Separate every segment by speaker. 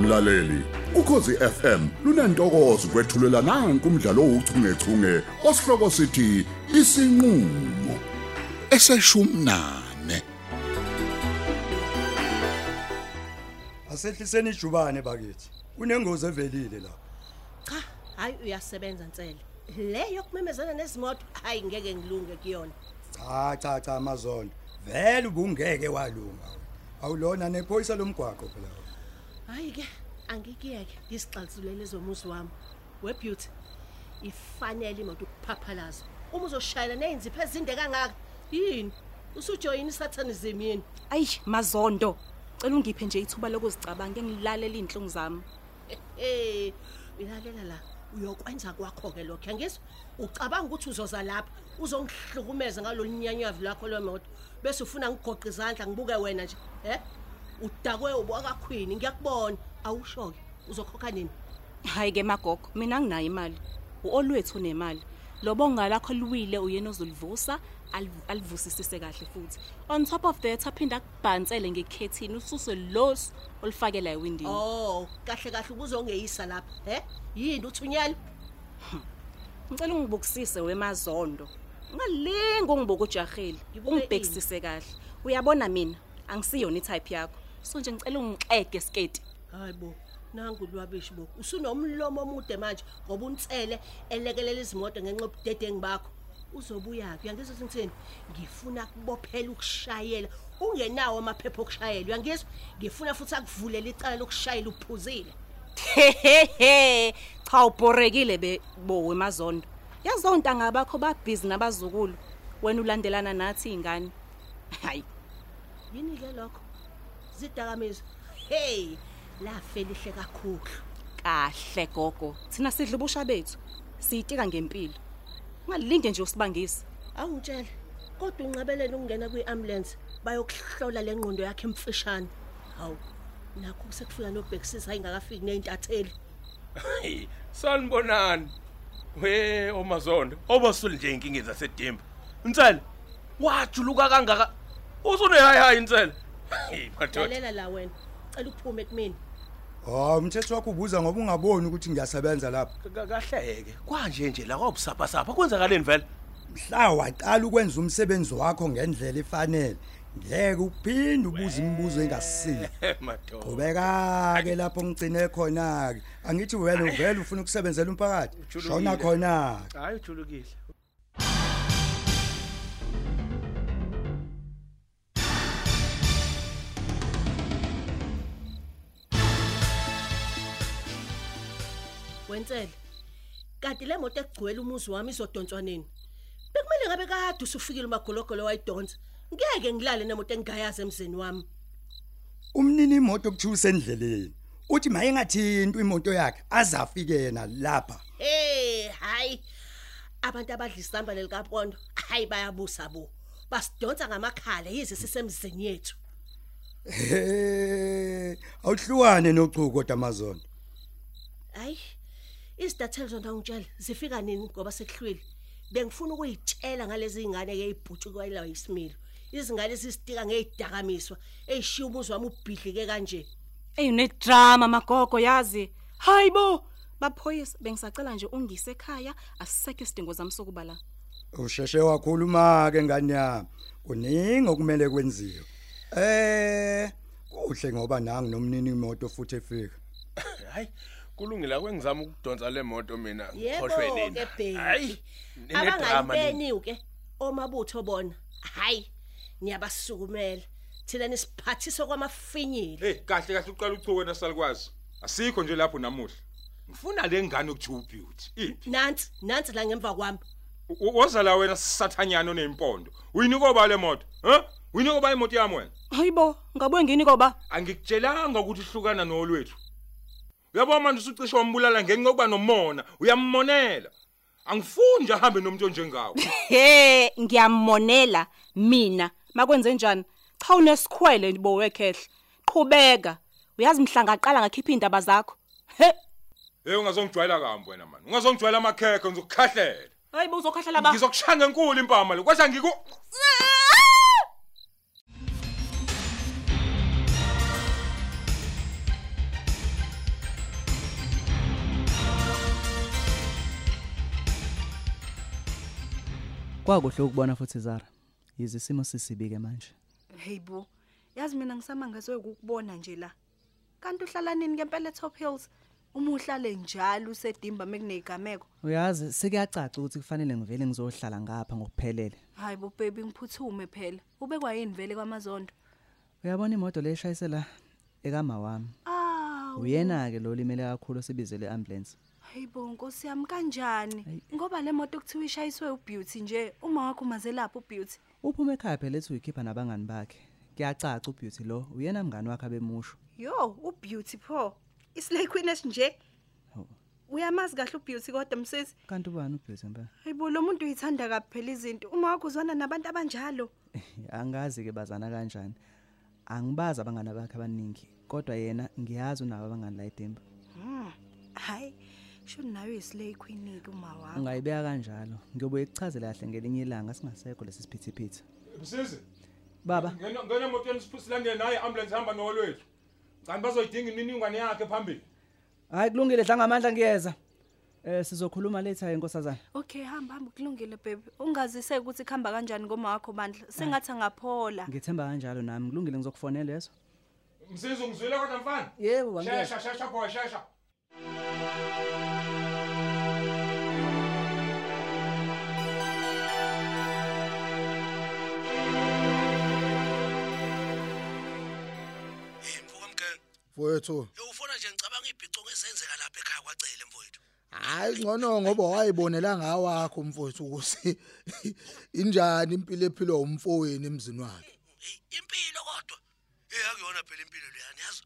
Speaker 1: mlaleli ukhosi FM lunantokozo kwethulela nanku umdlalo ouchungechunge osihloko sithi isinqulo eseshumnane
Speaker 2: asehliseni ijubane bakithi kunengozi evelile lapha
Speaker 3: cha hayi uyasebenza nsele le yokumemezana nezimoto hayi ngeke ngilunge kuyona
Speaker 2: cha cha cha amazondo vele ubungeke walunga wena. awulona nephoyisa lomgwaqo phela wena.
Speaker 3: hayi ke angikiyeke ngisixazulele zomuzi wami webeauty ifanele imoto ukuphaphalaza uma uzoshayela nezinzipho ezinde kangaka yini usujoyina isathanism yini
Speaker 4: ayi mazondo cela ungiphe nje ithuba lokuzicabanga ngilalela inhlungu zami
Speaker 3: eh uyalela la uyokwenza kwakho ke lokho ngizwa ucabanga ukuthi uzoza lapha uzongihlukumeza ngalolinyanyavu lakho lwemoto bese ufuna ngigoqa izandla ngibuke wena nje he udakwe ubwaka khwini ngiyakubona awusho ke uzokhokha nini
Speaker 4: hayi ke magogo mina anginayo imali uolwethu nemali lobonga lakho liwile uyena ozolivusa aliv- alivusisise kahle futhi on top of that aphinda akubhansele ngekhethini ususe losu olifakela ewindini
Speaker 3: oh kahle kahle ubuzongeyisa lapha he yini uthunyelwe
Speaker 4: ngicela ungibukisise wemazondo ungalingi ungibuke ujaheli
Speaker 3: Ngibuke ini?
Speaker 4: ungibhekisise kahle uyabona mina angisiyona itype yakho so nje ngicela ungixege skate
Speaker 3: hayi bo nangu lwabishi bo usunomlomo omude manje ngoba unsele elekelela izimoto ngenxa yobudedengu bakho uzobuya phi uyangizwa ukuthi ngithini ngifuna kubophela ukushayela ungenawo amaphepha okushayela uyangizwa ngifuna futhi akuvulele icala lokushayela uphuzile
Speaker 4: hehehe cha ubhorekile be bowe mazondo yazonta ngabakho babhizi nabazukulu wena ulandelana nathi ingane hayi
Speaker 3: yini ke lokho zidakamizwa hey lafelihle kakhulu
Speaker 4: kahle gogo thina sidla ubusha bethu siyitika ngempilo ungalinde nje usibangise
Speaker 3: awungitshele kodwa unqabelele ukungena kwi-ambulensi bayokuhlola le ngqondo yakhe emfishane hawu nakho sekufika nobhekisisa ayingakafiki ney'ntatheli
Speaker 5: Hey, sanibonani. We omazondo, obasule nje inkingi zasedimba. Insela, wajuluka kangaka. Usune hayi hayi insela. Hey, madodana.
Speaker 3: lalela la wena cela uphume kumina
Speaker 2: hawu umthetho Oh, wakho ubuza ngoba ungaboni ukuthi ngiyasebenza lapha
Speaker 5: Kahleke. Kwanje nje la kwabusapha sapha kwenzakaleni vele?
Speaker 2: mhla waqala ukwenza umsebenzi wakho ngendlela efanele ngeke uphinde ubuze imibuzo engasisiyo
Speaker 5: Madodana.
Speaker 2: qhubeka-ke lapho ngigcine khona-ke angithi wena uvele ufuna ukusebenzela umphakathi
Speaker 5: Ujulukile.
Speaker 2: shona khona-ke
Speaker 5: Hayi ujulukile.
Speaker 3: wensele kanti le moto ekugcwele umuzi wami izodonswa nini bekumele ngabe kade usufikile umagologolo wayidonsa ngeke ngilale nemoto engingayazi emzini wami
Speaker 2: umnini imoto kuthiwa usendleleni uthi mayingathinti imoto yakhe azafike yena lapha
Speaker 3: hey hayi abantu abadla isamba lelikapondo hayi bayabusa bo basidonsa ngamakhala yize sisemzini yethu
Speaker 2: Ehhe, awuhlukane nochuku kodwa amazona
Speaker 3: hayi izidathelo zona ungitshela zifika nini ngoba sekuhlwile bengifuna ukuyitshela ngalezi ingane ke ibhutshu kwalawa isimilo izingane ezisitika ngeyidakamiswa eyishiya umuzi wami ubhidlike kanje
Speaker 4: eyi unedrama magogo yazi hayi bo baphoyisa bengisacela nje ungise ekhaya asisekho isidingo zami sokuba la
Speaker 2: usheshe wakhuluma ke ngani yami kuningi okumele kwenziwe eh kuhle ngoba nangi nomnini imoto futhi efika
Speaker 5: Hayi. Kulungile kwengizama ukudonsa le moto mina ngikhohlwe
Speaker 3: yebo
Speaker 5: nina.
Speaker 3: ke bheki
Speaker 5: Hayi.
Speaker 3: abangalibeni ke omabutho bona hayi niyabasukumela thina nisiphathiswa kwamafinyile
Speaker 6: Hey kahle kahle uqala uchuku wena salikwazi. Asikho nje lapho namuhla. Ngifuna le ngane ukuthiwa ubeauty. Iphi?
Speaker 3: nansi nansi la ngemva kwami
Speaker 6: U- u- Woza la wena sathanyana onempondo. Uyinike oba le moto? Huh? Uyinike oba imoto yami wena?
Speaker 4: hayi bo ngabuye ngini koba
Speaker 6: Angikutshelanga ukuthi uhlukana nolwethu. Uyabona manje usucishe wambulala ngenxa yokuba nomona, uyammonela. Angifuni nje ahambe nomuntu onjengawe.
Speaker 4: he ngiyamonela mina makwenze njani cha unesikhwele bo wekhehle qhubeka uyazi mhlanga qala ngakhipha indaba zakho he
Speaker 6: Hey ungazongijwayela kambi wena man. Ungazongijwayela amakhekhe ngizokukhahlela.
Speaker 4: hayi buzokhahlela ba
Speaker 6: Ngizokushanga enkulu impama lo. Kwasha ngiku
Speaker 7: kwakuhle ukubona futhi Zara yize isimo sisibike manje
Speaker 8: hey bo yazi mina ngisamangazwe ukukubona nje la kanti uhlala nini kempela top hills uma uhlale njalo usedimba mekuneyigameko
Speaker 7: uyazi sekuyacaca ukuthi kufanele ngivele ngizohlala ngapha ngokuphelele
Speaker 8: hayi bo baby ngiphuthume phela ubekwa yini vele kwamazondo
Speaker 7: uyabona imoto leshayise la ekama wami
Speaker 8: aw
Speaker 7: uyena ke lo limele kakhulu osibizele ambulance
Speaker 8: Ah, hayi bo nkosi yami kanjani ngoba le moto kuthiwa ishayiswe ubeauty nje uma wakho umazelapha ubeauty
Speaker 7: uphume ekhaya phela ethi uyikhipha nabangani bakhe kuyacaca ubeauty lo uyena mngani wakhe abemusho
Speaker 8: yo ubeauty pho islay queen esinje
Speaker 7: Hawu,
Speaker 8: uyamazi kahle ubeauty kodwa msisi
Speaker 7: kanti ubani ubeauty mba
Speaker 8: hayibo lo muntu uyithanda kabi phela izinto uma wakho uzwana nabantu abanjalo
Speaker 7: angazi ke bazana kanjani angibazi abangani bakhe abaningi kodwa yena ngiyazi unawo abangani la edemba
Speaker 8: mm. hayi sho nayo islay queen ke uma
Speaker 9: Mm.
Speaker 8: wakho
Speaker 7: ungayibeka kanjalo ngiyobuye ikuchazele kahle ngelinye ilanga singasekho lesi siphithiphithi
Speaker 6: Msisi,
Speaker 7: baba
Speaker 6: ngena ngena emotweni siphusilangene naye ambulance hamba noolwethu. Ngani bazoyidinga imininingwane yakhe phambili.
Speaker 7: hayi kulungile dla ngamandla ngiyeza um sizokhuluma later enkosazana
Speaker 8: okay hamba hamba kulungile baby ungaziseki ukuthi kuhamba kanjani ngoma wakho bandla sengathi angaphola
Speaker 7: ngithemba kanjalo nami kulungile ngizokufonela yezo
Speaker 6: Msisi ungizwile kodwa mfana?
Speaker 7: yebo
Speaker 6: Shesha shesha boy shesha.
Speaker 10: Mvuka mkhenge.
Speaker 11: Mfowethu,
Speaker 10: Lo ufona nje ngicabanga ibhicongo ezenzeka lapha ekhaya kwacele mfowethu.
Speaker 11: hayi ngcono ngoba wayibonela ngawakho mfowethu ukuthi injani impilo ephilwa umfoweni emzini wakhe.
Speaker 10: Hey, impilo kodwa. Eh akuyona phela impilo leyani yazo.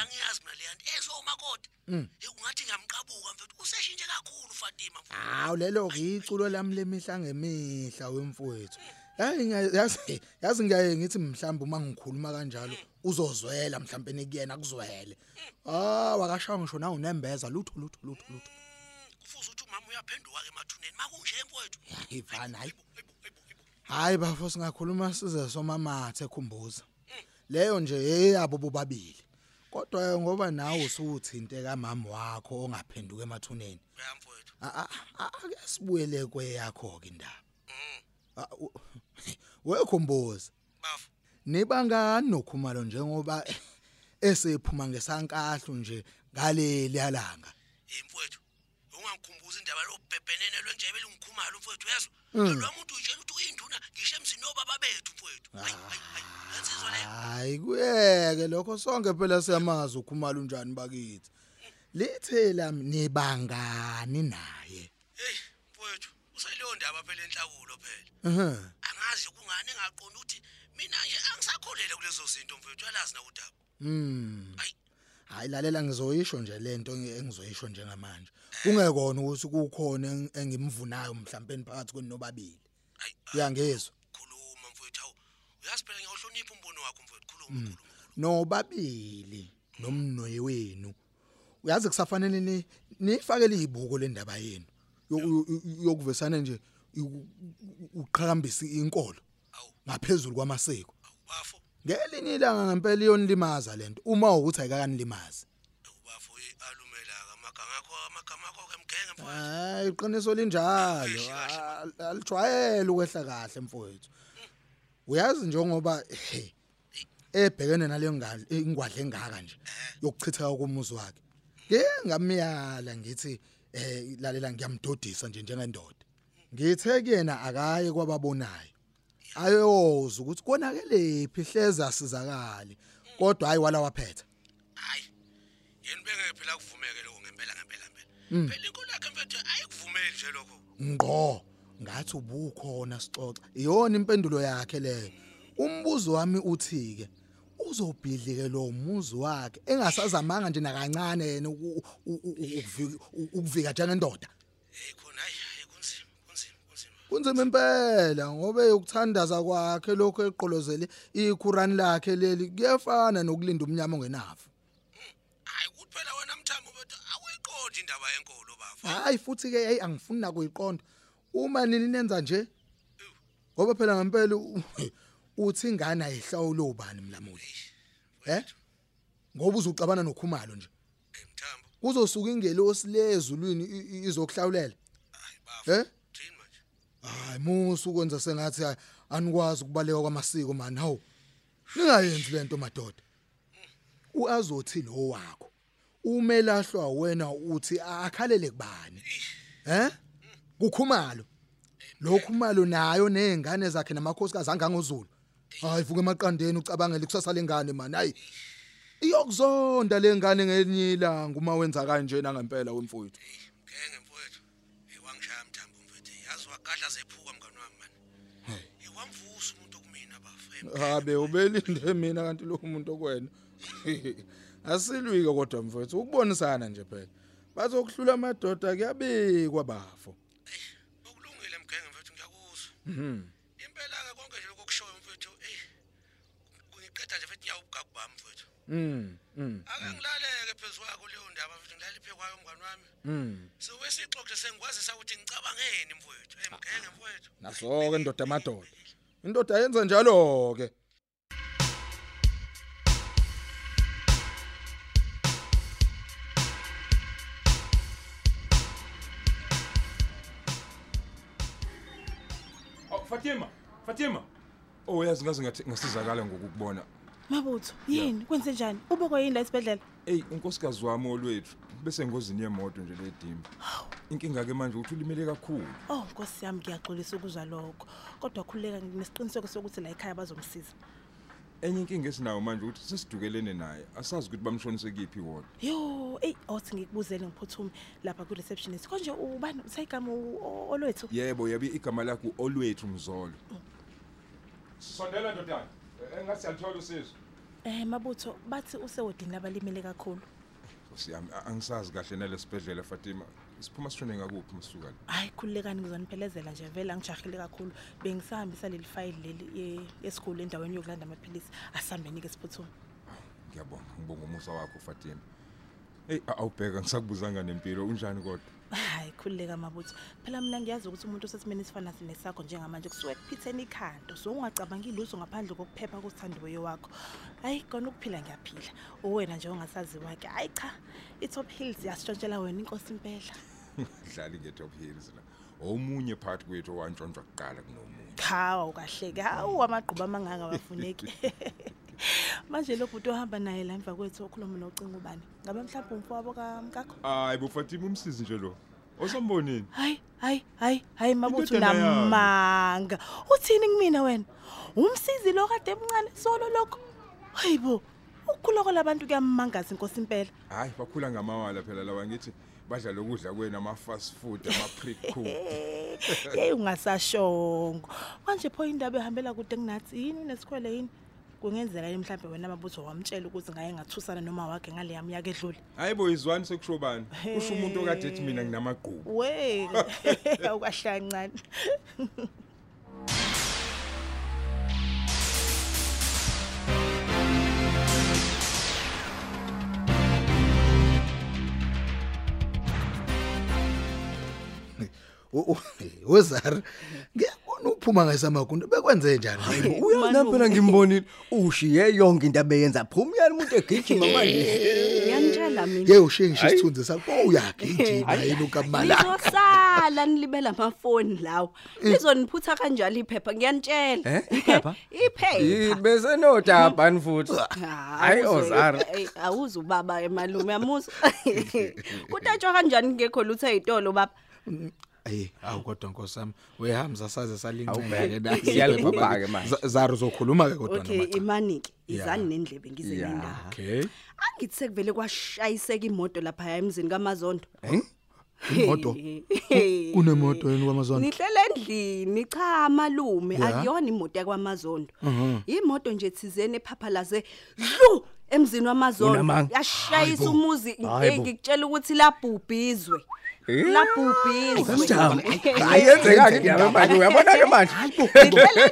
Speaker 10: Angiyazi mina leyani ezomakoti. Eh ungathi ngamqabuka mfowethu useshintshe kakhulu Fatima mfowethu.
Speaker 11: Hawu lelo ngiculo lami lemihla ngemihla wemfowethu. Yazi ngiya- yazi yazi ngiyaye ngithi mhlamba uma ngikhuluma kanjalo uzozwela mhlawumbe nikuyena kuzwele. Ah wakashaya ngisho na unembeza lutho lutho lutho lutho.
Speaker 10: Kufuze ukuthi umama uyaphenduka ke emathuneni makunje mfowethu.
Speaker 11: Hayi bani hayi.
Speaker 10: Hayibo, hayibo, hayibo, hayibo.
Speaker 11: Hayi bafo singakhuluma size somamathe khumbuza. Leyo nje yeyabo bobabili. Kodwa ngoba nawe usuthinte kamama wakho ongaphenduka emathuneni.
Speaker 10: Ya mfowethu.
Speaker 11: A- a- a- Ake sibuyele kweyakho ke indaba. Ah, u- We khumbuza.
Speaker 10: Bafu.
Speaker 11: Nibangani nokhumalo njengoba esephuma ngesankahlu nje ngaleli yalanga.
Speaker 10: Eh mfowethu. Ungangikhumbuza indaba lobhebhenene lwenjebe lingikhumalo mfowethu yazo. Lo muntu utshela ukuthi uyinduna ngisho emzini obaba bethu mfowethu. Hayi hayi hayi. Yansizwa leyo.
Speaker 11: Hayi kuyeke lokho sonke phela siyamazi ukhumalo unjani bakithi. Lithe lami nibangani naye.
Speaker 10: Hey mfowethu useleyo ndaba phela enhlakulo phela.
Speaker 11: Mhm.
Speaker 10: Angazi kungani engaqonda ukuthi mina nje angisakholelwa kulezo zinto mfowethu yalazi na udaba.
Speaker 11: Mm.
Speaker 10: Hayi.
Speaker 11: Hayi lalela ngizoyisho nje lento engi- engizoyisho njengamanje. Kungekona ukuthi kukhona eng- engimvunayo mhlawumbe phakathi kwenobabili.
Speaker 10: Hayi
Speaker 11: Uyangizwa?
Speaker 10: khuluma mfowethu hawu. Uyazi phela ngiyawuhlonipha umbono wakho mfowethu khuluma khuluma.
Speaker 11: Nobabili nomnoyi wenu. Uyazi kusafanele ni nifake lizibuko lendaba yenu. Yo- yo- yo- Yokuvesana nje u- u- uqhakambisa inkolo
Speaker 10: Hawu
Speaker 11: ngaphezulu kwamasiko.
Speaker 10: hawu bafo.
Speaker 11: Ngelinye ilanga ngempela iyonilimaza lento uma ukuthi ayikakanilimazi.
Speaker 10: Hawu bafo alumela ka amagama akho amagama akho ke mgenge mfowethu.
Speaker 11: Hayi iqiniso linjalo
Speaker 10: Kahle, kahle,
Speaker 11: Al- alijwayele ukwehla kahle mfowethu uyazi njengoba eh, ebhekene naleyo ngane ingwadla engaka nje
Speaker 10: Eh.
Speaker 11: yokuchitheka komuzi wakhe ke ngamiyala ngithi eh lalela ngiyamdodisa nje njengendoda ngithe kuyena akaye kwababonayo ayoza ukuthi konakelephi hleza
Speaker 10: Eh.
Speaker 11: sizakale kodwa hayi wala waphetha
Speaker 10: Hayi. Yini bengeke phela kuvumeke lokho ngempela ngempela ngempela. Phela inkolo yakhe mfowethu ayikuvumeli nje lokho.
Speaker 11: ngqo ngathi ubukhona sixoxa iyona impendulo yakhe leyo umbuzo wami uthi ke uzobhidlike lo muzi wakhe engasazamanga nje nakancane yena uku- u- u- ukuvika- u- ukuvika njengendoda
Speaker 10: Hey khona hayi hayi kunzima kunzima kunzima.
Speaker 11: kunzima impela ngoba ukuthandaza kwakhe lokho eqolozele iQuran lakhe leli kuyafana nokulinda umnyama ongenafu
Speaker 10: Hayi kuphela wena mthambo mfowethu awuyiqondi indaba yenkolo bafo.
Speaker 11: hayi futhi ke hey angifuni nakuyiqonda uma nini nenza nje ngoba phela ngempela u- uthi ingane ayihlawulo ubani mlamuli eh ngoba uzucabana nokhumalo nje
Speaker 10: Eh mthambo
Speaker 11: kuzosuka ingelosi lezulwini i- i- izokuhlawulela
Speaker 10: hayi bafo.
Speaker 11: eh
Speaker 10: Thini manje?
Speaker 11: hayi musu ukwenza sengathi hhayi, anikwazi ukubaleka kwamasiko mani hawu ningayenzi lento madoda uazothi lo wakho umelahlwa wena uthi akhalele kubani he kukhumalo lokhu malo nayo nezingane zakhe namakhosikazi angangozulu hayi vuka emaqandeni ucabangele kusasa lengane mani hayi iyokuzonda lengane ngelinye ilanga uma wenza kanje nangempela wemfowethu
Speaker 10: ngeke mfowethu hey wangishaya mthambo mfethu yazi wagadla zephuka mngani wami mani iwamvusa umuntu kumina bafe
Speaker 11: habe ubelinde mina kanti lo muntu okwena asilwike kodwa mfowethu ukubonisana nje phela bazokuhlula amadoda kuyabikwa bafo
Speaker 10: kulungile mgenge mfethu ngiyakuzwa
Speaker 11: mhm
Speaker 10: impela ke konke nje lokushoyo mfethu eh ngiqeda nje mfethu nyawubugagu bami mfethu
Speaker 11: mhm mhm
Speaker 10: ake ngilaleke phezulu kwakho leyo ndaba mfethu ngilale phekwayo mngani wami
Speaker 11: mhm
Speaker 10: siwe sixoxe sengikwazisa ukuthi ngicabangeni mfowethu hey mgenge mfowethu
Speaker 11: naso ke indoda amadoda indoda yenza njalo ke
Speaker 6: Oh, Fatima, Fatima. Oh, yazi ngaze ngathi ngasizakala ngokukubona.
Speaker 9: mabutho yini kwenze njani ubekwe yini la esibhedlela
Speaker 6: Ey, unkosikazi wami olwethu bese ngozini yemoto nje ledimba. Inkinga ke manje ukuthi ulimele kakhulu.
Speaker 9: oh nkosi yami ngiyaxolisa ukuzwa lokho kodwa khululeka nginesiqiniseko sokuthi la ekhaya bazomsiza
Speaker 6: Enye inkinga esinayo manje ukuthi sesidukelene naye. Asazi ukuthi bamshonise kiphi wona.
Speaker 9: yo eyi awuthi ngikubuzele ngiphuthume lapha kwi-receptionist konje ubani uthayigama olwethu
Speaker 6: Yebo, yabe igama lakhe olwethu Mzolo. Sondela ndodana. Eh, Engathi yalithola usizo.
Speaker 9: um mabutho bathi usewodini labalimele kakhulu
Speaker 6: Siyami angisazi kahle nalesibhedlela Fatima. Siphuma sishone ngakuphi masuka la.
Speaker 9: hhayi khululekani ngizoniphelezela nje vele angijahile kakhulu bengisahambisa leli fayili leli ye- yesikhulu endaweni yokulanda amaphilisi asihambeni-ke siphuthume
Speaker 6: Ngiyabonga, ngibonga umusa wakho Fatima. Hey, awubheka ngisakubuzanga nempilo unjani kodwa?
Speaker 9: hayi khululeka mabutho phela mina ngiyazi ukuthi umuntu osesimeni esifana nesakho njengamanje kusuke kuphitheni ikhanda so ungacabangi lutho ngaphandle kokuphepha kosithandiweyo wakho hayi kona ukuphila ngiyaphila uwena nje ongasaziwa-ke hayi cha i-top hills yasitshontshela wena inkosi impela
Speaker 6: Udlali ngetop hills la. Omunye phakathi kwethu owantshontshwa kuqala kunomunye.
Speaker 9: chawa ukahleke hawu amagquba amangaka wafuneki manje lo bhuti ohamba naye la emva kwethu okhuluma nocinga ubani ngabe mhlawumbe umfowabo kamkakho
Speaker 6: Hayi bo Fatima umsizi nje lo. Osombonini.
Speaker 9: hayi hayi hayi hayi mabutho
Speaker 6: Indodana yami.
Speaker 9: lamanga uthini kumina wena umsizi lo kade emncane solo lokho hayi bo ukukhula kwalabantu kuyamangaza inkosi impela
Speaker 6: Hayi bakhula ngamawala phela lawa ngithi badla lokudla kwena ama fast food ama pre-cooked.
Speaker 9: yeyi ungasashongo kanje pho indaba ehambela kude kunathi yini unesikhwele yini kungenzeka yini mhlawumbe wena mabutho wamtshela ukuthi ngaye ngathusana noma wakhe ngale yami yaka edlule
Speaker 6: Hayi bo izwani sekushobani. Usho umuntu okade ethi mina nginamagqubu.
Speaker 9: we awukahlaya ncane
Speaker 11: wezar ngiyabona uphuma ngesamagundo bekwenze njani
Speaker 12: uyanampela ngimbonile ushiye yonke into abeyenza phumuyani umuntu egijima manje
Speaker 4: ngiyanitshela mina
Speaker 11: ye ushiye ngisho isithunzi sakho Oh, uyagijima
Speaker 12: Hayi.
Speaker 11: yini ukamalanga
Speaker 13: Ngizosala nilibela amafoni lawo. Nizoniphutha kanjalo iphepha ngiyantshela.
Speaker 12: Mm. Eh, iphepha?
Speaker 13: Iphepha.
Speaker 12: bese nodaba nifuthi hayi
Speaker 13: awuzwe-
Speaker 12: ozara
Speaker 13: eh, Awuzi ubaba emalume yamuzwa. Kutatshwa kanjani ngekho lutho ezitolo baba?
Speaker 14: Ayi, awu kodwa nkosami, uyahamza saze
Speaker 12: Awubheke,
Speaker 14: salincane
Speaker 12: na- siyalibhubha-ke manje.
Speaker 14: Zaro zokhuluma ke kodwa
Speaker 13: Okay,
Speaker 14: noma.
Speaker 13: imanike.
Speaker 14: Yeah.
Speaker 13: Izani nendlebe ngize nendaba.
Speaker 14: Okay.
Speaker 13: Angithi sekuvele kwashayiseka imoto lapha emzini kaMazondo.
Speaker 11: Eh? Imoto. Kunemoto yini kwamazona?
Speaker 13: Nihlele endlini cha malume
Speaker 11: Yeah.
Speaker 13: akuyona imoto yakwaMazondo.
Speaker 11: Mhm.
Speaker 13: Imoto nje thizeni ephaphalaze dlu emzini wamazondo
Speaker 12: Unamanga.
Speaker 13: yashayisa
Speaker 12: Hayibo.
Speaker 13: umuzi
Speaker 12: Hayibo.
Speaker 13: ngikutshela ukuthi labhubhizwe. Labhubhizwe.
Speaker 12: hayi yenzekani indaba manje uyabona ke manje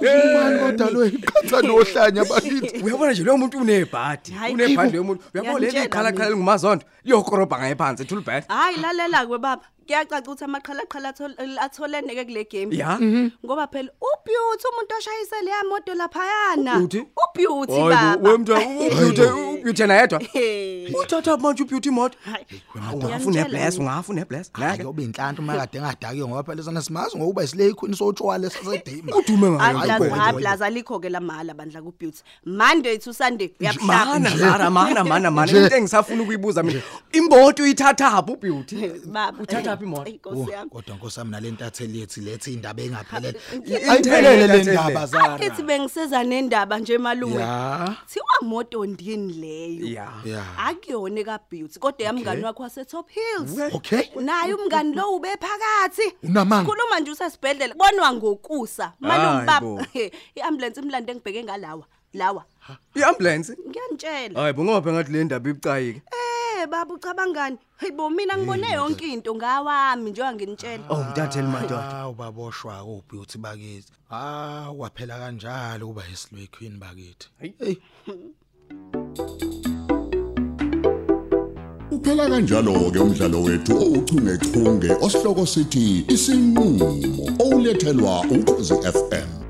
Speaker 11: Ubani kodwa lo iqhatha nohlanya bakithi
Speaker 12: uyabona nje lo muntu unebhadi
Speaker 13: Hayi,
Speaker 12: unebhadi
Speaker 13: ibo.
Speaker 12: lo muntu uyabona leli
Speaker 13: Ngiyalitshela
Speaker 12: khala khala
Speaker 13: mina.
Speaker 12: lingumazondo liyokorobha ngaye phansi thulbad
Speaker 13: Hayi lalela kwe baba
Speaker 8: kuyacaca ukuthi amaqhalaqhala atho- atholeneke kule game
Speaker 12: Ya. Mhm.
Speaker 8: ngoba phela ubeauty umuntu oshayisa leya moto laphayana
Speaker 12: Ubeauty?
Speaker 8: ubeauty
Speaker 12: Hayi bo,
Speaker 8: baba
Speaker 12: we mntu ubeauty ubeauty nayedwa.
Speaker 8: Hey.
Speaker 12: Uthatha manje ubeauty imoto. Ungafu
Speaker 8: Ngiyamtshela
Speaker 12: nebless,
Speaker 8: mina.
Speaker 12: ungafu nebless.
Speaker 8: Hayi,
Speaker 12: Ngoba
Speaker 11: inhlanhla uma kade engadakiwe ngoba phela sana simazi ngokuba isile ikhwini sotshwala sasedima.
Speaker 12: Udume
Speaker 8: aplaza alikho ke lamahhala bandla kubeauty monday to sunday
Speaker 12: Mana
Speaker 8: uyabuhlaba
Speaker 12: mana mana mana mana into engisafuna ukuyibuza mina. Imboto uyithathapha ubeauty?
Speaker 8: baba
Speaker 12: Uthatha aphi imoto? Oh,
Speaker 8: Inkosi yami.
Speaker 11: Kodwa nkosami nalentatheli yethu lethe indaba engaphelele.
Speaker 8: Inhle-
Speaker 11: Ayiphelele le
Speaker 12: inhle-
Speaker 11: ndaba zara.
Speaker 8: Akithi bengiseza nendaba nje malume.
Speaker 11: Ya.
Speaker 8: Thiwa moto ndini leyo.
Speaker 12: Ya.
Speaker 11: Ya.
Speaker 8: Akuyona eka beauty kodwa yamngani wakho wase Top Hills.
Speaker 11: Okay.
Speaker 8: Naye umngani lo ube phakathi.
Speaker 11: Unamanga.
Speaker 8: Khuluma nje usesibhedlela bonwa ngokusa.
Speaker 12: Hayi
Speaker 8: Malume
Speaker 12: bo.
Speaker 8: baba. Iambulance imlande engibheke ngalawa. Lawa.
Speaker 12: Iambulance.
Speaker 8: Ngiyantshela.
Speaker 12: Hayi bungoba ngathi le ndaba ibucayike.
Speaker 8: Eh baba ucabangani? Hey bo mina ngibone yonke into ngawami njengoba nginitshela.
Speaker 12: Oh mntatheli madoda.
Speaker 11: Hawu baboshwa ubeauty bakithi. Ah waphela kanjalo kuba isilwe ikhwini bakithi. Hey.
Speaker 1: Uphela kanjalo ke umdlalo wethu ouchungechunge osihloko sithi isinqulo olethelwa ukhozi FM.